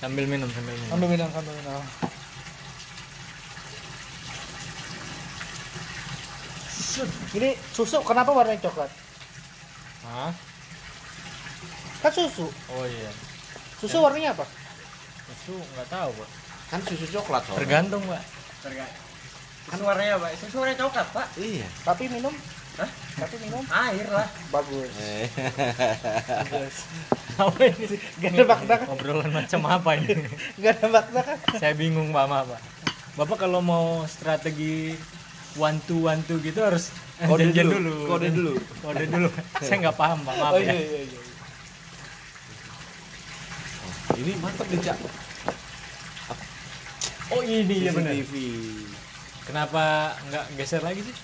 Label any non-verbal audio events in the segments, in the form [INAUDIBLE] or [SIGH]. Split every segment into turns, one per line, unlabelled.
sambil minum sambil minum.
Sambil minum, sambil minum. Shit, Ini susu kenapa warnanya coklat?
Hah?
Kan susu.
Oh iya.
Susu
Eh.
warnanya apa?
Susu nggak tahu, Pak.
kan susu coklat soalnya
Tergantung, Pak.
tergantung kan warnanya pak susu warnanya coklat pak
iya
Tapi minum.
Hah?
Tapi minum
air lah
bagus.
Eh,
Bagus.
apa ini sih?
Gak ada makna kan?
Obrolan macam apa ini?
Gak ada makna kan?
[LAUGHS] Saya bingung, Pak, maaf, Pak. Bapak kalau mau strategi one to one to gitu harus [LAUGHS]
Kode
janjian
dulu, kode dulu.
Kode dulu. [LAUGHS] Saya nggak paham, Pak. Maaf
Oh
ya.
iya iya iya.
ini mantep nih cak
Oh ini ya
Iya,
benar.
CCTV
Kenapa nggak geser lagi sih?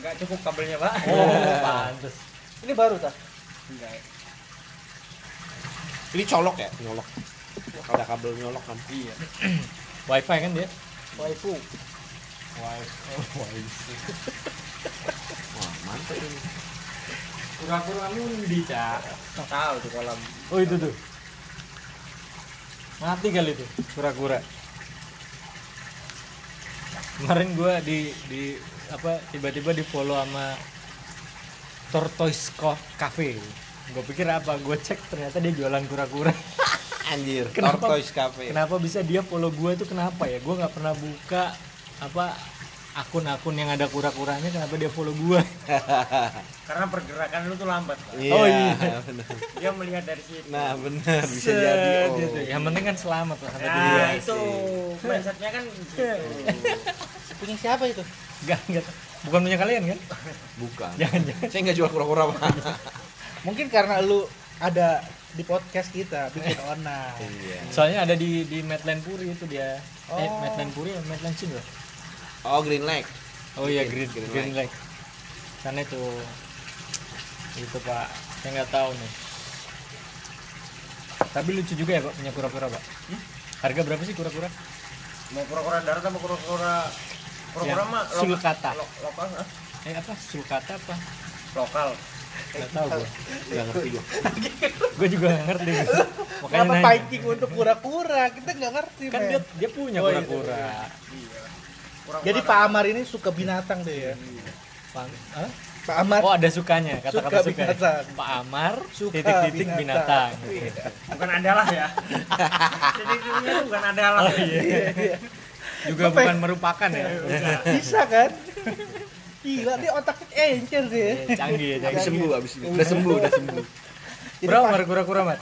nggak cukup kabelnya pak
[LAUGHS] Oh, pantes.
Ini baru tak?
Nggak.
ini colok ya nyolok ada kabel nyolok kan
iya
Wifi kan dia?
Waifu.
wah mantep ini
Kura-kura mundi, Cak.
nggak tahu di kolam
Oh itu tuh. Mati kali itu kura-kura. Kemarin gua di di apa tiba-tiba di follow sama Tortoise Co- Cafe. Gue pikir apa? Gue cek ternyata dia jualan kura-kura.
anjir
Kenapa-
tortoise cafe [LAUGHS]
Kenapa bisa dia follow gue tuh kenapa ya? Gue nggak pernah buka apa akun-akun yang ada kura-kuranya kenapa dia follow gue?
karena pergerakan lu tuh lambat pak
iya,
Oh, iya.
bener.
dia melihat dari situ
nah bener bisa jadi oh.
Yang penting kan selamat lah sampai di
nah
Iya
itu mindsetnya kan gitu
Punya siapa itu?
Gak, gak. Bukan punya kalian kan?
bukan
Jangan-jangan.
saya nggak jual kura-kura pak
Mungkin karena lu ada di podcast kita bikin
Eh.
online.
iya
Soalnya ada di di Madland Puri itu dia. Eh,
Oh.
Madland Puri atau Madland Shin loh.
oh green light
Oh iya, Green
Green
Green, Lake. Sana itu itu Pak. Saya nggak tahu nih. Tapi lucu juga ya Pak punya kura-kura Pak. Harga berapa sih kura-kura?
Hmm? mau kura-kura darat sama kura-kura kura-kura
Yang
mah lo-
sulcata.
lo- lokal ah?
Ya, Eh apa? Sulcata apa?
lokal
Nggak tahu gue.
nggak ngerti gua
Gue juga nggak
[LAUGHS]
ngerti. Makanya
Kenapa
nanya.
pancing untuk kura-kura? Kita nggak ngerti.
Kan
ya?
men.
dia dia punya
Oh, iya.
kura-kura.
iya kura-kura
Jadi Pak Amar ini suka binatang deh ya.
Pan- Hah?
Pak Amar
Oh ada sukanya kata-kata
Suka
suka.
binatang.
Pak Amar
Suka
titik-titik binatang. Oh, iya.
binatang. Iya.
bukan adalah ya [LAUGHS] jadi dulunya tuh bukan adalah
Oh iya. Juga
Apa ya?
bukan merupakan ya.
bisa kan? Gila dia otaknya encer sih. ya.
[LAUGHS] Canggih ya, canggih.
Abis sembuh abis ini udah sembuh udah sembuh
Jadi
Bro,
Pak-
harga kura-kura, Mat.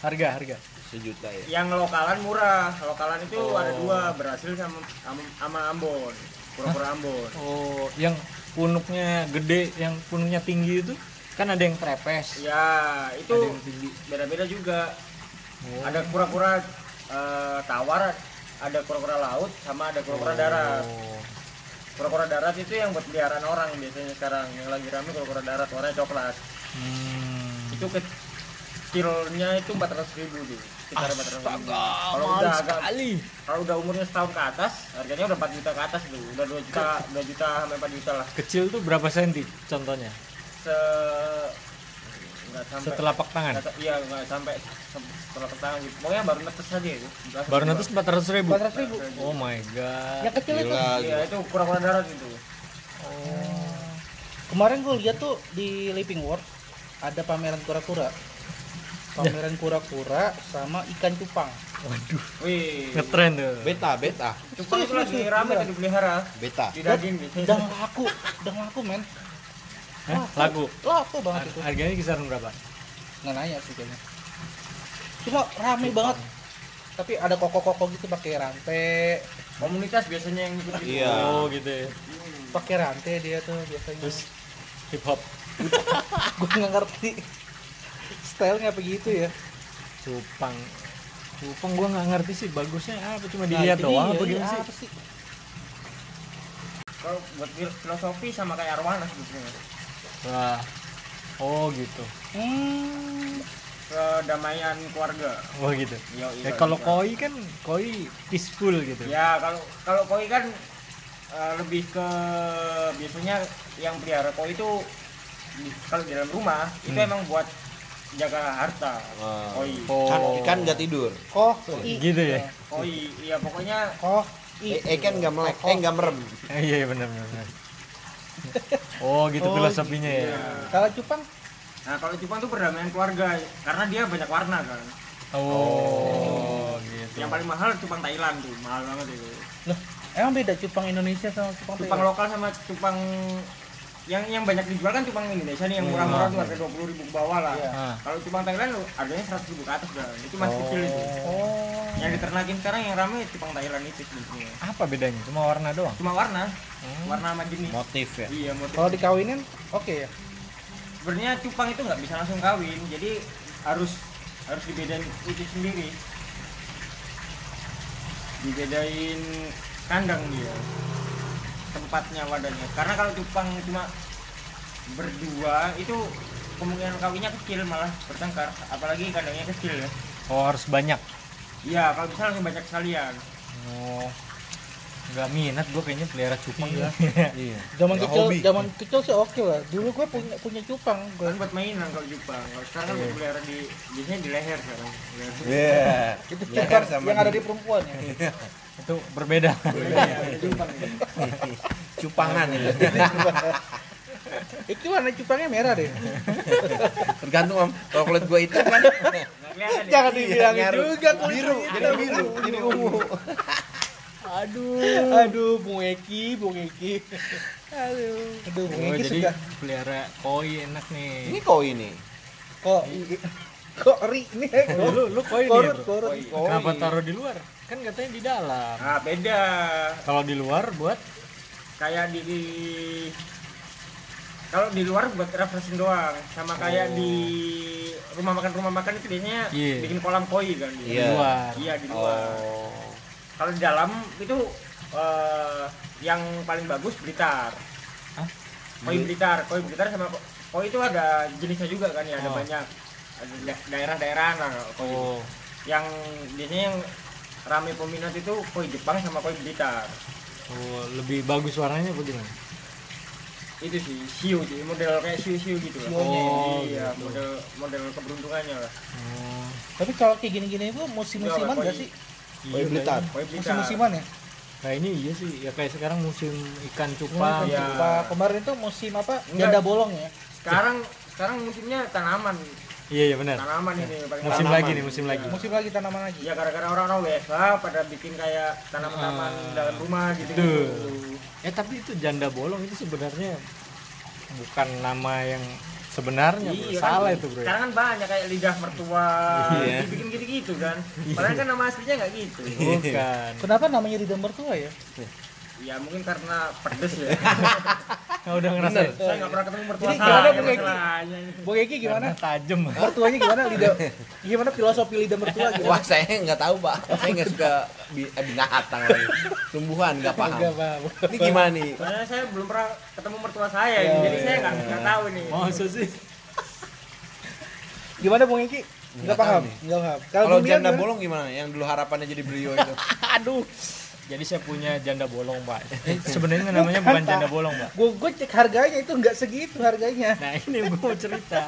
Harga, harga.
sejuta ya
yang lokalan murah lokalan itu
Oh.
ada dua berhasil sama sama, sama Ambon kura-kura Ambon
Oh, yang punuknya gede, yang punuknya tinggi itu kan ada yang trepes.
ya itu
Ada yang tinggi.
beda-beda juga
Oh.
ada kura-kura eh, tawar ada kura-kura laut sama ada kura-kura darat
Oh.
kura-kura darat itu yang buat peliharaan orang biasanya sekarang yang lagi rame kura-kura darat warnanya coklat
Hmm.
itu kecilnya itu 400 ribu di sekitar 400 ribu kalau
Mahal
udah agak
sekali.
kalau udah umurnya setahun ke atas harganya udah 4 juta ke atas tuh udah 2 juta 2 juta sampai 4 juta lah
Kecil tuh berapa senti contohnya?
se nggak sampai
Setelapak tangan.
nggak sa- iya nggak sampai se- setelah pertama gitu pokoknya baru netes aja itu
Baru netes 400 ribu.
400 ribu.
Oh my god.
Yang kecil itu.
Gila,
iya itu kura-kura darat itu
Kemarin gue lihat tuh di Living World ada pameran kura-kura. Pameran kura-kura sama ikan cupang.
Waduh,
wih
ngetren tuh.
beta beta
cupang itu lagi rame
Iya.
tuh dipelihara
beta
di daging gitu
Udah laku, udah laku men.
Hah? Laku.
Laku banget
Har-
itu.
Harganya kisaran berapa?
Nggak nanya sih kayaknya. Cuma rame banget. Tapi ada koko-koko gitu pakai rantai,
komunitas biasanya yang ikut gitu
Iya.
Oh gitu ya.
pakai rantai dia tuh biasanya.
Terus hip hop
gue nggak ngerti stylenya apa gitu ya.
cupang. Cupang gua nggak ngerti sih bagusnya apa cuma dilihat
Nah,
doang
jadi
iya, apa
ya,
gimana sih?
apa sih?
kalau buat fil- filosofi sama kayak arwana sebetulnya
Wah. Oh gitu.
Hmm,
kedamaian keluarga
Oh gitu.
Yo,
Ya,
iya,
kalau
iya.
koi kan koi peaceful gitu.
Ya kalau kalau koi kan eh, lebih ke biasanya yang pelihara koi itu di- kalau di dalam rumah itu
Hmm.
emang buat jaga harta.
Oh.
Koi.
Kan ikan nggak tidur.
Koh, i,
gitu ya [LAUGHS]
Koi, iya pokoknya
koh, i.
Eh, ikan nggak melek, eh nggak merem.
Eh, iya iya, benar benar benar. oh gitu
Oh,
filosofinya
iya.
ya
Kalau eh. cupang,
Nah, kalau Jepang tuh perdamaian keluarga karena dia banyak warna kan.
oh gitu
Yang paling mahal cupang Thailand tuh, mahal banget itu.
loh, emang beda cupang Indonesia sama cupang
Cupang
Thailand?
lokal sama cupang yang yang banyak dijual kan cupang Indonesia nih yang murah-murah tuh harga 20.000 ke bawah lah.
Iya.
Ah.
Kalau cupang Thailand harganya 100.000 ke atas kan. Itu masih kecil itu.
Oh,
Yang diternakin sekarang yang rame cupang Thailand itu sebenarnya.
apa bedanya cuma warna doang
Cuma warna,
Hmm.
warna sama jenis.
Motif ya.
Iya, motif.
kalau dikawinin, oke ya.
Sebenarnya cupang itu nggak bisa langsung kawin, jadi harus harus dibedain itu sendiri. Dibedain kandang dia, tempatnya wadahnya. Karena kalau cupang cuma berdua itu kemungkinan kawinnya kecil malah bertengkar, apalagi kandangnya kecil ya.
oh harus banyak
Iya, kalau bisa langsung banyak sekalian.
oh nggak minat gue kayaknya pelihara cupang [LAUGHS]
Iya.
ya.
Iya.
Zaman
Nggak
kecil,
hobi.
zaman kecil sih oke lah. Dulu gue punya punya cupang, gue.
Kan buat mainan kalau cupang. Kalau sekarang kan
Iya.
dipelihara di biasanya di leher sekarang.
Iya.
Itu
Leher
cupang
sama
yang ada
di-
di perempuan
[LAUGHS]
ya.
itu berbeda
Iya, cupang. ya.
Cupangan itu.
itu warna cupangnya merah deh.
Iya, Tergantung om. Kalau kulit gua hitam kan. Iya.
Nggak kelihatan ya?
[LAUGHS] Jangan dibilangin
Nyaru.
juga kulit
biru, jadi biru, jadi ungu.
Aduh, aduh, Bung Eki, Bung Eki. Aduh, aduh, Bung
oh,
Eki
jadi
suka.
pelihara koi enak
Ini
nih
kau ini.
Kok, kok ri nih?
Oh, lu lu koi nih ya,
Korut,
bro?
korut.
Koi.
Koi.
kenapa taruh di luar kan katanya di dalam
Nah, beda.
kalau di luar buat
Kayak di, di kalau di luar buat refreshing doang, sama kayak di rumah makan rumah makan itu biasanya
Oh. Iya.
bikin kolam koi kan. dia.
di
Iya.
luar
Iya di luar.
Oh.
Kalau di dalam itu eh, yang paling bagus Blitar.
Hah?
Koi Blitar, koi Blitar sama ko- koi itu ada jenisnya juga kan ya, ada
Oh.
banyak. Ada da- daerah-daerah nah, koi.
oh
Yang biasanya yang rame peminat itu koi Jepang sama koi Blitar.
oh lebih bagus warnanya apa gimana
itu sih siu sih model kayak siu siu gitu lah
Oh,
iya
gitu.
model model keberuntungannya lah
oh
Tapi kalau kayak gini-gini itu musim-musiman
Enggak,
gak
Koi.
sih?
Koi
iya,
Blitar.
koi blitar
Musim-musiman ya?
Nah ini iya sih, ya kayak sekarang musim ikan
Cuma
cupang.
Iya.
kemarin tuh musim apa?
Enggak.
Janda bolong ya?
sekarang sekarang musimnya tanaman
Iya iya benar.
tanaman ini paling
Musim
tanaman.
lagi nih, musim
Iya.
lagi.
Musim lagi tanaman lagi.
ya gara-gara orang-orang WFH pada bikin kayak tanaman-tanaman
Ah.
dalam rumah gitu
Betul. Eh tapi itu janda bolong itu sebenarnya bukan nama yang sebenarnya, bro.
Iya,
salah
kan,
itu bro.
Sekarang kan banyak kayak lidah mertua,
Iya.
dibikin gitu-gitu kan.
Iya.
Padahal kan nama aslinya nggak gitu. [LAUGHS]
Bukan.
Kenapa namanya di gambar tua ya?
Ya mungkin karena pedes
[LAUGHS]
ya.
Nah, udah ngerasain.
Saya nggak pernah ketemu mertua
Jadi
saya.
gimana, Bung Eki?
masalahnya.
gitu.
Bung Eki
Gimana
gimana?
tajam?
Mertuanya gimana lidah? Gimana filosofi lidah mertua gitu?
Wah saya nggak tahu pak. Saya nggak suka bi- eh, binatang lagi. Tumbuhan nggak paham.
Enggak, Pak.
Ini gimana nih?
Soalnya saya belum pernah ketemu mertua saya,
Iya,
ini, jadi saya nggak nggak tahu nih.
Masa sih?
Gimana Bung Eki? Enggak
tahu
paham,
nih.
enggak paham.
Kalau
Bung Dian
janda
gimana?
bolong gimana? Yang dulu harapannya jadi beliau itu.
[LAUGHS]
aduh,
Jadi saya punya janda bolong pak. Eh, Sebenarnya namanya bukan
Pak.
janda bolong pak.
gua gua cek harganya itu enggak segitu harganya.
Nah ini [LAUGHS] gue mau cerita.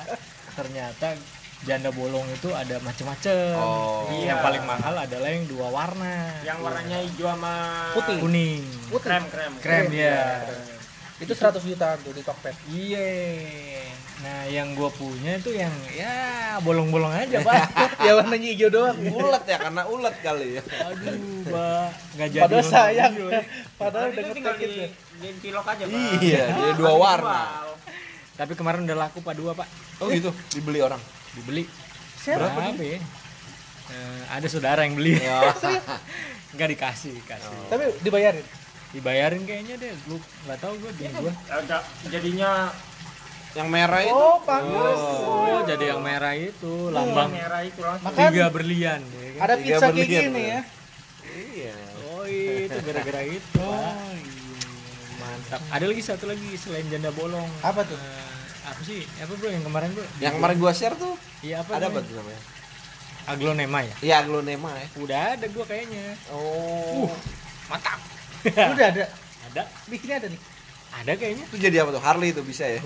Ternyata janda bolong itu ada macem-macem.
Oh.
Yang
Iya.
paling mahal adalah yang dua warna.
Yang warnanya hijau sama
Putih.
kuning.
Krem, krem.
Krem ya.
Itu 100 jutaan tuh di Tokped.
Iya. Nah, yang gua punya itu yang ya bolong-bolong aja, [LAUGHS] Pak.
ya warnanya hijau doang.
ulet ya karena ulet kali ya.
Aduh, Pak. Enggak jadi.
Padahal
nonton
sayang.
video.
Padahal
Padahal
udah
itu tinggal
ngetik
di,
gitu.
di cilok aja, Pak.
Iya, dia dua warna.
Tapi kemarin udah laku Pak dua, Pak.
Oh gitu dibeli orang.
Dibeli.
Siapa?
Berapa ya? Eh, ada saudara yang beli.
Ya.
Enggak dikasih, dikasih.
Tapi dibayarin.
Dibayarin kayaknya deh. Lu enggak tahu gua bini gua.
Ada jadinya
Yang merah itu.
Oh, pantas.
Oh, jadi yang merah itu lambang
merah itu langsung.
Makan.
tiga berlian ya kan?
Ada
Tiga
pizza kayak
berlian,
gini
Bro.
ya.
Iya.
Oh, itu gara-gara itu. Pak. Mantap. Ada lagi satu lagi selain janda bolong.
Apa tuh?
Eh, apa sih? Apa bro yang kemarin bro?
Yang kemarin gua share tuh
Iya apa?
ada apa
namanya?
tuh namanya?
Aglonema ya.
Iya aglonema ya.
Udah ada gua kayaknya.
Oh.
Mantap. [LAUGHS] Ya.
Udah ada.
ada.
Bikinnya ada nih.
ada kayaknya
Itu jadi apa tuh? Harley itu bisa ya?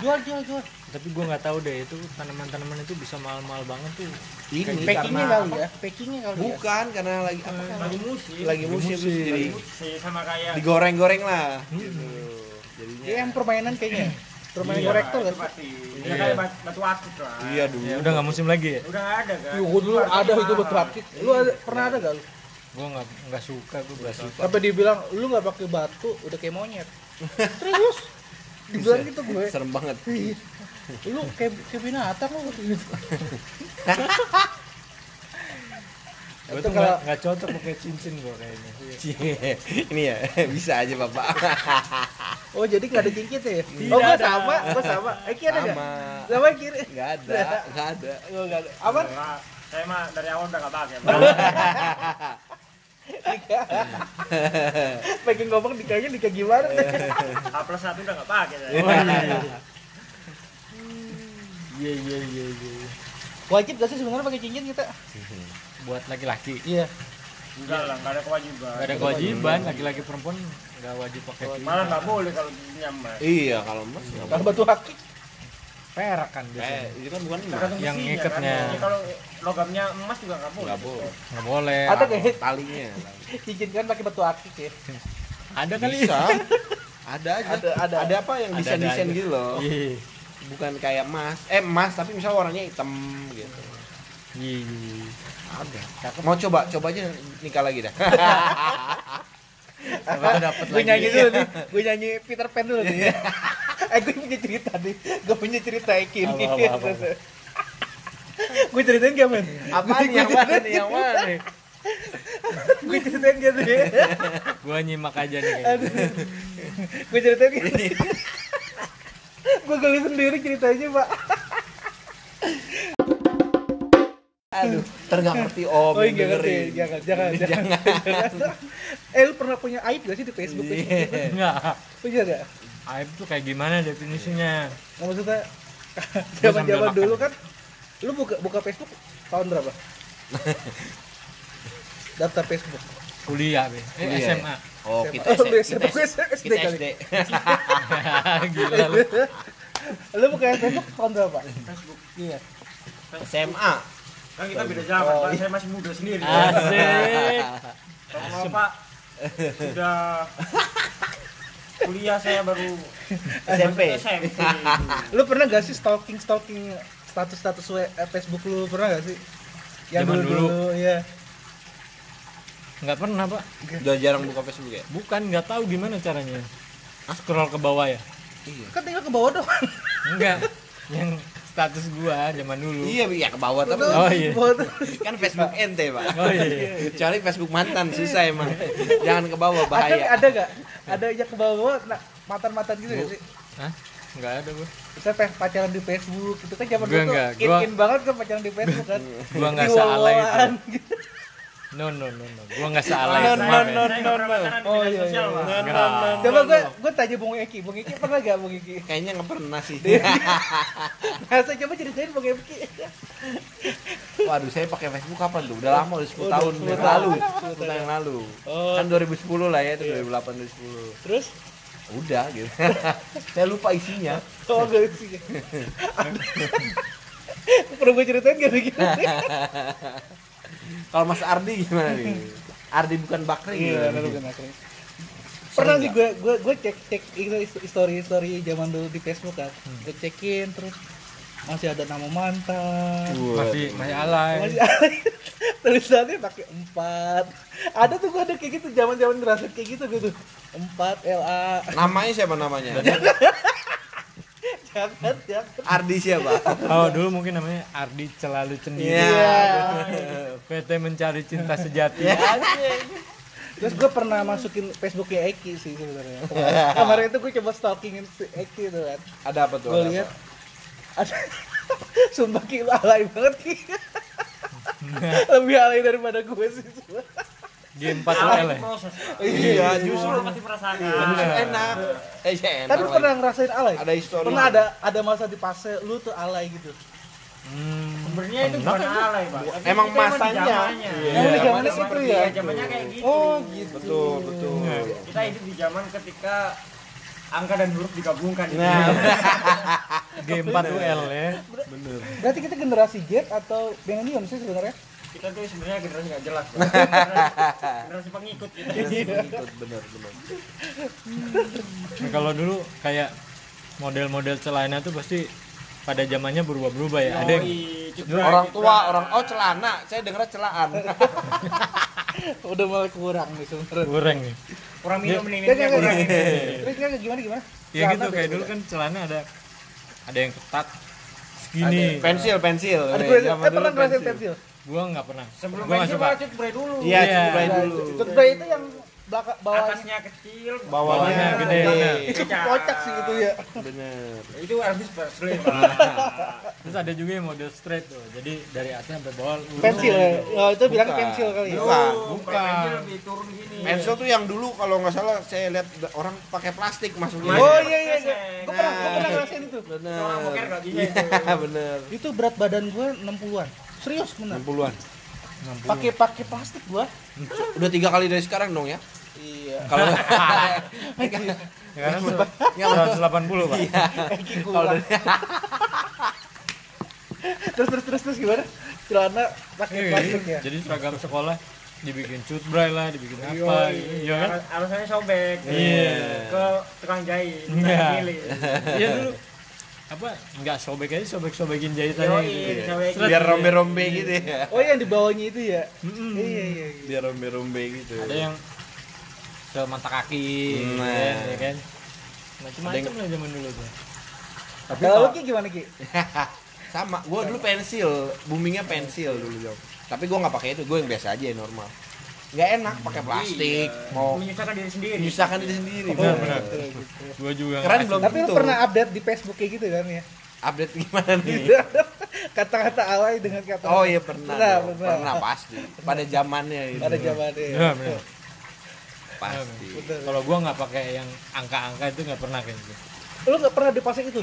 Jual, jual, jual.
tapi gua nggak tahu deh itu tanaman-tanaman itu bisa mahal-mahal banget tuh
[LAUGHS]
Ya,
Ini
Packingnya
karena
kali ya, packingnya kali ya.
bukan karena lagi apa kan?
lagi musim
lagi musim terus
musim.
jadi
musim sama kayak ya,
digoreng-goreng lah. Iya,
Hmm.
Gitu. Jadinya.
Dia yang permainan kayaknya. Permainan
Iya,
korektor
itu
kan.
pasti
Iya.
ya kayak bat- batu akik lah
Iya dulu.
ya udah nggak musim lagi ya
udah nggak ada kan
Yuh, gua Iya, dulu
Harganya
ada itu
mahal.
buat rakit. Lu ada, pernah ada gak lu?
gua nggak nggak suka gua nggak suka
Sampai dibilang lu gak pakai batu, udah kayak monyet. Terus dibilang gitu gue.
Serem banget. [LAUGHS]
Lu kayak kayak binatang lu.
gua
Itu
tuh nggak
kalau-
nggak cocok pakai cincin gua kayaknya
Cie, ini ya [LAUGHS] bisa aja [LAUGHS] bapak.
Oh, jadi gak ada cincin ya?
Tidak
Oh,
Iya,
gua
ada.
sama, gua sama. Eki ada gak?
Sama.
Sama kiri.
Gak ada, gak ada.
Gua gak ada. Apa?
Nah, saya mah dari awal udah nggak pakai
Iya.
Pengen ngomong dikanya dika gimana deh.
A plus satu udah nggak pakai
Oh,
saya
iya iya iya iya
Wajib gak sih sebenarnya pakai cincin kita?
buat laki-laki
Iya.
enggak lah nggak ada kewajiban
nggak ada kewajiban laki-laki perempuan nggak wajib pakai
malah
cincin
nggak boleh kalau nyambar
Iya kalau mas nggak
Kalau
apa-apa.
batu akik
perak kan
Eh,
biasanya
itu kan bukan emas.
Tergantung
Yang
isinya,
ngikatnya.
kan. Ya, kalau logamnya emas juga nggak boleh
Nggak boleh.
nggak boleh
ada kayak
Talinya. [LAUGHS]
cincin kan pakai batu akik ya.
ada kali
Bisa. Ada aja.
Ada- ada.
apa yang
Ada-ada
desain-desain
aja.
gitu loh.
Iya.
Bukan kayak emas. Eh emas tapi misal warnanya hitam gitu.
Iya.
Ada. Mau coba, coba aja nikah lagi [LAUGHS] dah.
Apa dapat
gue
lagi? Iya.
nyanyi dulu nih gue nyanyi Peter Pan dulu nih [LAUGHS] eh gue punya cerita nih gue punya cerita Eki
Apa,
nih
apa, apa, apa.
gue ceritain gak men
apa nih yang mana nih yang mana nih?
gue ceritain gak tuh ya
Gua nyimak aja nih.
Aduh. gue ceritain gak nih gue geli sendiri ceritanya pak
Aduh, ter nggak ngerti om
oh
yang
iya ngerti
dengerin. Iya.
jangan jangan jangan, jangan. eh lu pernah punya aib gak sih di Facebook
Iya.
Enggak.
punya gak
Aib tuh kayak gimana definisinya?
Nggak maksudnya zaman
sambil
zaman
makan.
dulu kan lu buka buka Facebook tahun
[LAUGHS]
berapa daftar Facebook
Kuliah, Be. Eh,
Kuliah,
SMA.
Oh,
SMA.
iya, kita
Oh, lu
SD.
SMA, gue SD
Kita
kali.
SD.
[LAUGHS] Gila
Iya.
lu.
[LAUGHS] lu buka Facebook tahun berapa
Facebook
iya
SMA.
kan kita beda zaman
Oh,
pak
iya.
saya masih muda sendiri
Ah. Asik.
kalau pak sudah kuliah saya baru
SMP.
SMP
lu pernah gak sih stalking stalking status status Facebook lu pernah gak sih
Zaman
dulu-dulu, iya
Enggak pernah, Pak.
Udah jarang buka Facebook ya?
Bukan enggak tahu gimana caranya. Scroll ke bawah ya?
Iya.
kan tinggal ke bawah doang
Enggak. Yang status gua zaman dulu.
Iya, iya ke bawah tapi
Oh, iya.
Ke bawah tuh.
kan Facebook ente, Pak.
Oh iya.
Kecuali Facebook mantan susah [LAUGHS] emang. Jangan ke bawah
ada
bahaya.
ada gak
Iya.
ada yang ke bawah nah, matan matan gitu gak sih
Hah? Enggak ada
[LAUGHS]
gua.
kita pe- pacaran di Facebook itu kan zaman
Gua
dulu
nggak,
tuh in
gua-
in banget kan pacaran di Facebook
[LAUGHS]
kan
Gua enggak
Di
sealay
wawalan
itu.
gitu.
No, no, no, no. Gua enggak sealay
No,
itu.
no,
maaf ya.
no.
Saya nggak pernah pacaran di
Oh,
media
iya,
sosial,
iya.
Pak.
Enggak.
Coba gue gue tanya Bung Eki, Bung Eki pernah gak Bung Eki? [LAUGHS]
Kayaknya nggak pernah sih.
Nah, saya coba ceritain Bung Eki.
Waduh, saya pakai Facebook kapan tuh? Udah lama, udah
Oh,
10
Udah,
tahun
10
yang
tahun.
lalu. 10 tahun yang lalu.
Oh. Iya.
Kan 2010 lah ya, itu 2008 2010.
Terus?
Udah gitu. [LAUGHS] saya lupa isinya.
Oh gak sih.
[LAUGHS]
[LAUGHS] Perlu gue ceritain gak lagi?
Kalau Mas Ardi gimana nih? Ardi bukan Bakri
Iya,
gimana
lalu
nih?
kena kering. Pernah sih gue gue gue cek cek story story zaman dulu di Facebook kan. Gue cekin terus masih ada nama mantan.
Waduh.
Masih masih alay.
Masih ada [LAUGHS] tulisannya pakai empat. Ada tuh gue ada kayak gitu zaman zaman ngerasa kayak gitu gue tuh empat LA.
Namanya siapa namanya?
[LAUGHS] Jangan jangan.
Ardi siapa?
Oh, dulu mungkin namanya Ardi Celalu Cendiri.
Iya.
Iya.
PT Mencari
[LAUGHS]
Cinta Sejati.
Iya.
Terus gue pernah masukin Facebooknya Eki sih [LAUGHS] sebenarnya. Kemarin itu gue coba stalkingin si Eki tuh kan.
Ada apa
Gue
tuh? Ada
lihat
apa?
ada [LAUGHS] sumpah ki lu alay banget [LAUGHS] ki. Lebih alay daripada gue sih.
G4
Awal
UL ya?
proses Pak.
Iya,
Semua
justru Iya,
orang pasti merasakan
Justru enak. Eh, ya enak.
Tapi lu
lagi.
pernah ngerasain alay?
Ada histori.
Pernah ada ada masa di fase lu tuh alay gitu.
Hmm.
sebenarnya itu bukan alay pak Tapi
Emang
itu emang
masanya.
zamannya.
Iya.
Emang di zamannya
Zaman
situ
dia,
ya?
zamannya kayak gitu
Oh gitu.
Betul, betul.
Iya.
kita hidup di zaman ketika angka dan huruf digabungkan gitu.
Nah. G4 UL ya. Bener.
Berarti kita generasi Z atau milenium sih sebenarnya?
kita tuh sebenarnya generasi nggak jelas generasi, generasi pengikut kita
bener bener
Nah, kalau dulu kayak model-model celana tuh pasti pada zamannya berubah-berubah ya. Ada yang
Yoi, cedera,
orang
cedera.
tua orang oh celana saya dengar celaan
Udah mulai kurang nih sebenarnya.
goreng Ya nih.
orang minum nih
Ya, ya,
minum,
ya.
kurang ini.
Terus kan gimana gimana?
Ya
Celana
gitu
tuh
kayak
beda.
dulu kan celana ada ada yang ketat
Ada
segini.
pensil pensil
Ada
Iya,
Weh,
kulit,
zaman
eh
dulu
kan
pernah ngerasain
pensil.
pensil?
Gua nggak pernah.
sebelum
gua nggak
pensil
suka.
malah cutbray dulu
iya
Iya.
cutbray
Nah,
dulu
Cutbray itu yang belakang bawahnya
atasnya kecil
Bawahnya gede. Iya.
itu kocak sih itu ya.
bener
itu habis berselim
Terus ada juga yang model straight tuh. Jadi dari atas sampai bawah uh. lurus.
Pensil ya. Oh, itu bilang
Bukan.
pensil kali ya.
Bukan.
bukan.
pensil lebih turun gini
pensil tuh yang dulu kalau nggak salah saya lihat orang pakai plastik masuknya
Oh iya iya iya.
Nah.
Gue pernah gue pernah ngerasain itu.
Itu orang boker
bener
nggak bisa
Iya, [LAUGHS] bener
Itu berat badan gue 60-an. Serius bener.
60-an
Pakai pakai plastik gua.
udah tiga kali dari sekarang [LAUGHS] dong ya
[LAUGHS] Iya.
kalau
Ya, karena se- 180, Pak.
Eki kurang. [LAUGHS] terus terus terus terus gimana? Celana pakai
Iya,
plastik ya.
Jadi seragam sekolah dibikin cutbray lah, dibikin
Yoi,
apa gitu, iya kan?
alas- alasannya sobek
Iya.
ke tukang jahit
Iya.
tukang jahit.
Iya dulu apa nggak sobek aja sobek-sobekin jahitannya
Yoi,
gitu.
Iya.
sobek.
biar rombe-rombe gitu ya
Oh yang di bawahnya itu ya.
Mm-mm.
Iya iya iya.
biar rombe-rombe gitu
Ada yang ke mata kaki,
Nah.
ya, ya kan? Macam-macam
yang-
lah zaman dulu tuh. Tapi
Kalau lu
kalau
Ki gimana Ki?
[LAUGHS] sama gua dulu pensil boomingnya pensil dulu Jom. tapi gua nggak pakai itu gua yang biasa aja yang normal nggak enak pakai plastik
Iya.
Oh.
mau
menyusahkan diri sendiri
menyusahkan diri sendiri
Benar,
Bang.
benar. gua juga
keren
nggak-
belum
Tapi lu
tentu.
pernah update di Facebook kayak gitu kan ya?
update gimana
[LAUGHS]
nih
Kata-kata awal dengan kata
oh iya pernah
Iya. Pernah,
dong.
pernah.
pernah pasti pada zamannya itu
pada zamannya.
Iya, benar.
pasti
Betul.
Kalau gua nggak pakai yang angka-angka itu nggak pernah kayak gitu.
Lu nggak pernah di pasang itu?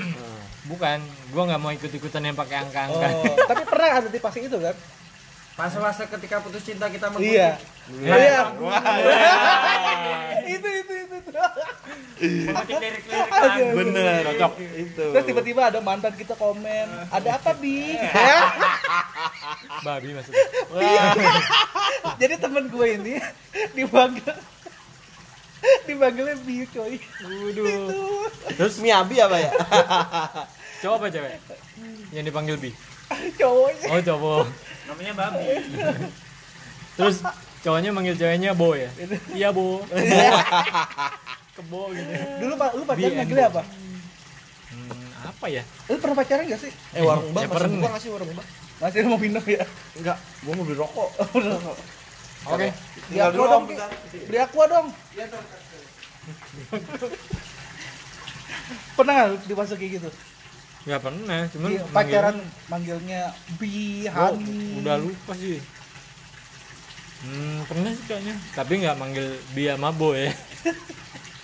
Bukan, gua nggak mau ikut-ikutan yang pakai
Oh,
angka-angka.
tapi pernah ada di pasang itu kan?
fase-fase ketika putus cinta kita mengutip
Iya. Iya. itu itu itu.
mengutip lirik-lirik
Aduh.
lagu.
bener cocok itu
Iya. Terus tiba-tiba ada mantan kita komen, ada apa bi?
[LAUGHS] Babi maksudnya.
Jadi temen gue ini dipanggil dipanggilnya bi coy.
Waduh.
Tuh.
Terus
miabi apa ya
cowok apa cewek? Yang dipanggil Bi.
Cowoknya.
Oh, cowok.
namanya babi
Terus cowoknya manggil ceweknya Bo ya? Iya, [LAUGHS] Bo. Kebo gitu.
Dulu Pak, lu pacaran
Bi
manggilnya
and
apa?
Hmm, apa ya?
Lu pernah pacaran gak sih?
eh warung bah
Ya,
masih
pernah.
buka nggak sih warung bah
Masih mau minum ya? Oh,
enggak gua mau beli rokok
Oke.
Beli aqua dong, Ki. beli aqua dong. Pernah nggak dimasuki gitu?
Enggak pernah, cuman
Di- pacaran manggilnya bi,
manggilnya- Oh,
hani.
udah lupa sih. Hmm, pernah sih kayaknya. Tapi nggak manggil Bi sama Bo [LAUGHS] ya.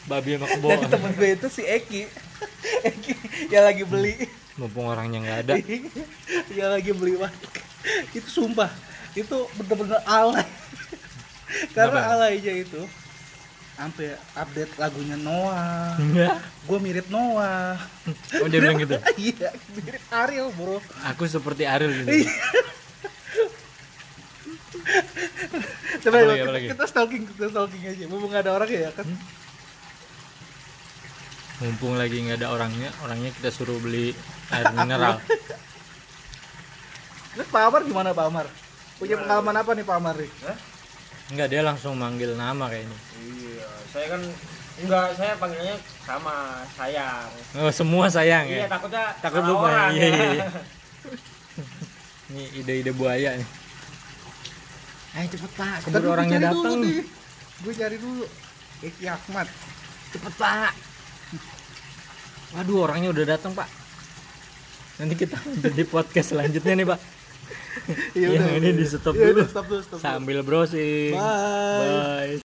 Babi sama Kebo.
Jadi temen gue itu si Eki. [LAUGHS] Eki yang lagi beli. [LAUGHS]
Mumpung orangnya nggak ada. [LAUGHS]
yang lagi beli warteg. Itu sumpah. Itu bener-bener alay. [LAUGHS] Karena
Kenapa?
alaynya itu sampai update lagunya Noah. Gue mirip Noah. [LAUGHS]
Oh, dia bilang gitu.
Iya, mirip Ariel, Bro.
Aku seperti Ariel gitu.
Coba
Apa lagi,
kita,
apa lagi?
kita stalking, kita stalking aja. Mumpung nggak ada orang ya kan.
Mumpung lagi nggak ada orangnya, orangnya kita suruh beli air
[LAUGHS]
mineral.
Terus Pak Amar gimana Pak Amar? Punya pengalaman apa nih Pak Amar? nih?
Enggak, dia langsung manggil nama kayaknya.
iya saya kan enggak saya panggilnya sama sayang
Oh, semua sayang
iya
ya.
takutnya
Takut
salah
lupa ya,
orang
iya, iya, [LAUGHS] iya. Ini ide-ide buaya nih. Ayo cepet pak,
Tapi
keburu
gua
orangnya
cari dulu
datang.
nih. Gue cari dulu. Eki Ahmad.
Cepet pak. Waduh orangnya udah datang pak. Nanti kita [LAUGHS] lanjut di podcast selanjutnya nih pak. Yang ini di stop dulu
Iya, udah, Stop dulu, stop dulu.
sambil browsing.
Bye.
Bye.